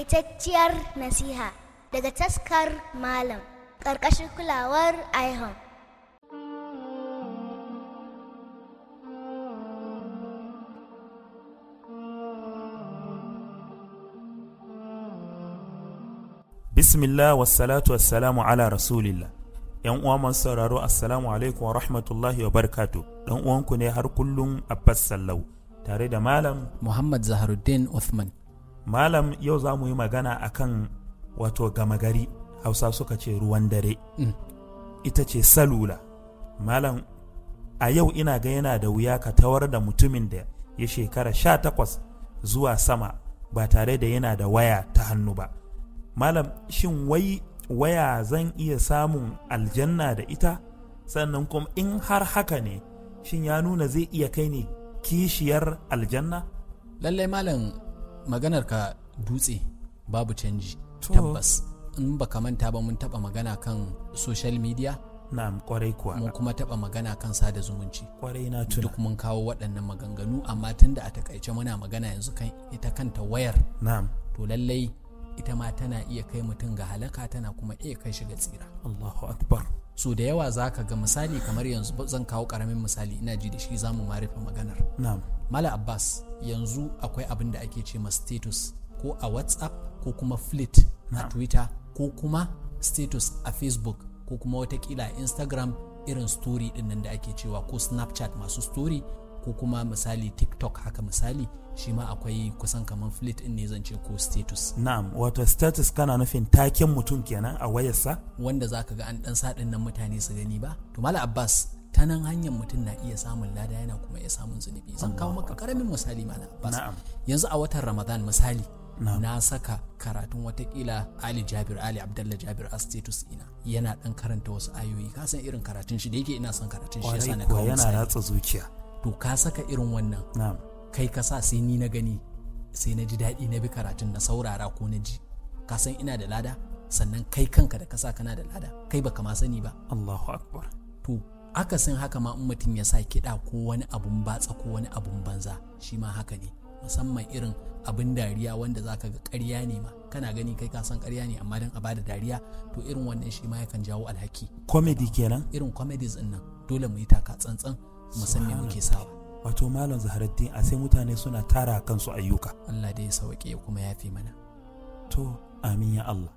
Takaitacciyar nasiha daga taskar Malam ƙarƙashin kulawar IHOM. Bismillah wassalatu wassalamu ala rasulillah. ‘Yan uwa masu sauraro assalamu alaikum wa rahmatullahi wa barkatu ɗan uwanku ne har kullum Abbas Sallau tare da Malam Muhammad Zaharuddin Uthman. Malam yau za mu yi magana akan wato gama gari Hausa suka ce ruwan dare. Mm. Ita ce salula. Malam a yau ina ga yana da wuya ka tawar da mutumin da ya shekara sha takwas zuwa sama ba tare da yana da waya ta hannu ba. Malam shin wai waya zan iya samun aljanna da ita? Sannan kuma in har haka ne shin ya nuna zai iya kai ni kishiyar aljanna? Lallai malam maganar ka dutse babu canji To. tabbas. In baka manta ba mun taba magana kan social media Na'am kwarai kuwa. mun kuma taba magana kan sada zumunci. kwarai na tuna. Duk mun kawo waɗannan maganganu amma tunda a takaice muna magana yanzu kan ita kanta wayar Na'am. to lallai ita ma tana iya kai mutum ga halaka tana kuma iya kai shi ga tsira. Allahu Akbar. So da yawa za ka ga misali kamar yanzu ba- zan kawo ƙaramin misali ina ji da shi za mu ma rufe maganar. Na'am. Mala Abbas yanzu akwai abin da ake ce ma status ko a WhatsApp ko kuma fleet a Twitter ko kuma status a Facebook ko kuma watakila a Instagram irin story din nan da ake cewa ko Snapchat masu story ko kuma misali TikTok haka misali shi ma akwai kusan kamar fleet din ne zan ce ko status Na'am, wato status kana nufin taken mutum kenan a wayarsa? wanda za ka ga an dan sa nan mutane su gani ba. To Mala Abbas ta nan hanyar mutum na iya samun lada yana kuma iya samun zunubi. Zan kawo maka karamin misali Mala Abbas. Na'am. yanzu a watan ramadan misali Na'am. na saka karatun watakila ali jabir ali abdallah jabir a status ina yana dan karanta wasu ayoyi ka san irin karatun shi da yake ina son karatun shi yasa Kwarai na kuwa kawo yana misali ratsa zuciya. to ka saka irin wannan Na'am. kai ka sa sai ni na gani sai na ji daɗi na bi karatun na saurara ko na ji ka san ina da lada sannan kai kanka da ka sa kana da lada kai baka ma sani ba Allahu Akbar. to akasin haka ma in mutum ya sa kiɗa ko wani abun batsa ko wani abun banza shi ma haka ne musamman irin abin dariya wanda zaka ga ƙarya ne ma kana gani kai ka san ƙarya ne amma dan a bada dariya to irin wannan shi ma yakan jawo alhaki Comedy kenan? irin comedies din nan dole mu yi taka tsantsan mu san me muke sawa Wato Malam Zaharuddin a sai mutane suna tara kansu ayyuka. Allah dai ya sauke ya kuma yafe mana To, amin ya Allah.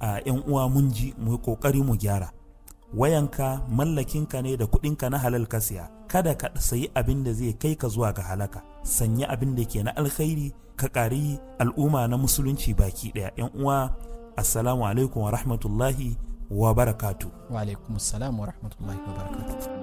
A ‘yan uwa mun ji mu yi ƙoƙari mu gyara. Wayanka mallakinka ne da kuɗinka na halal ka siya. Kada ka sayi abin da zai kai ka zuwa ga halaka. Sanya abin da ke na alkhairi ka ƙari al'umma na musulunci baki ɗaya. ‘Yan uwa, Assalamu alaikum wa rahmatullahi wa barakatu. wa alaikumus salam wa rahmatullahi wa barakatuh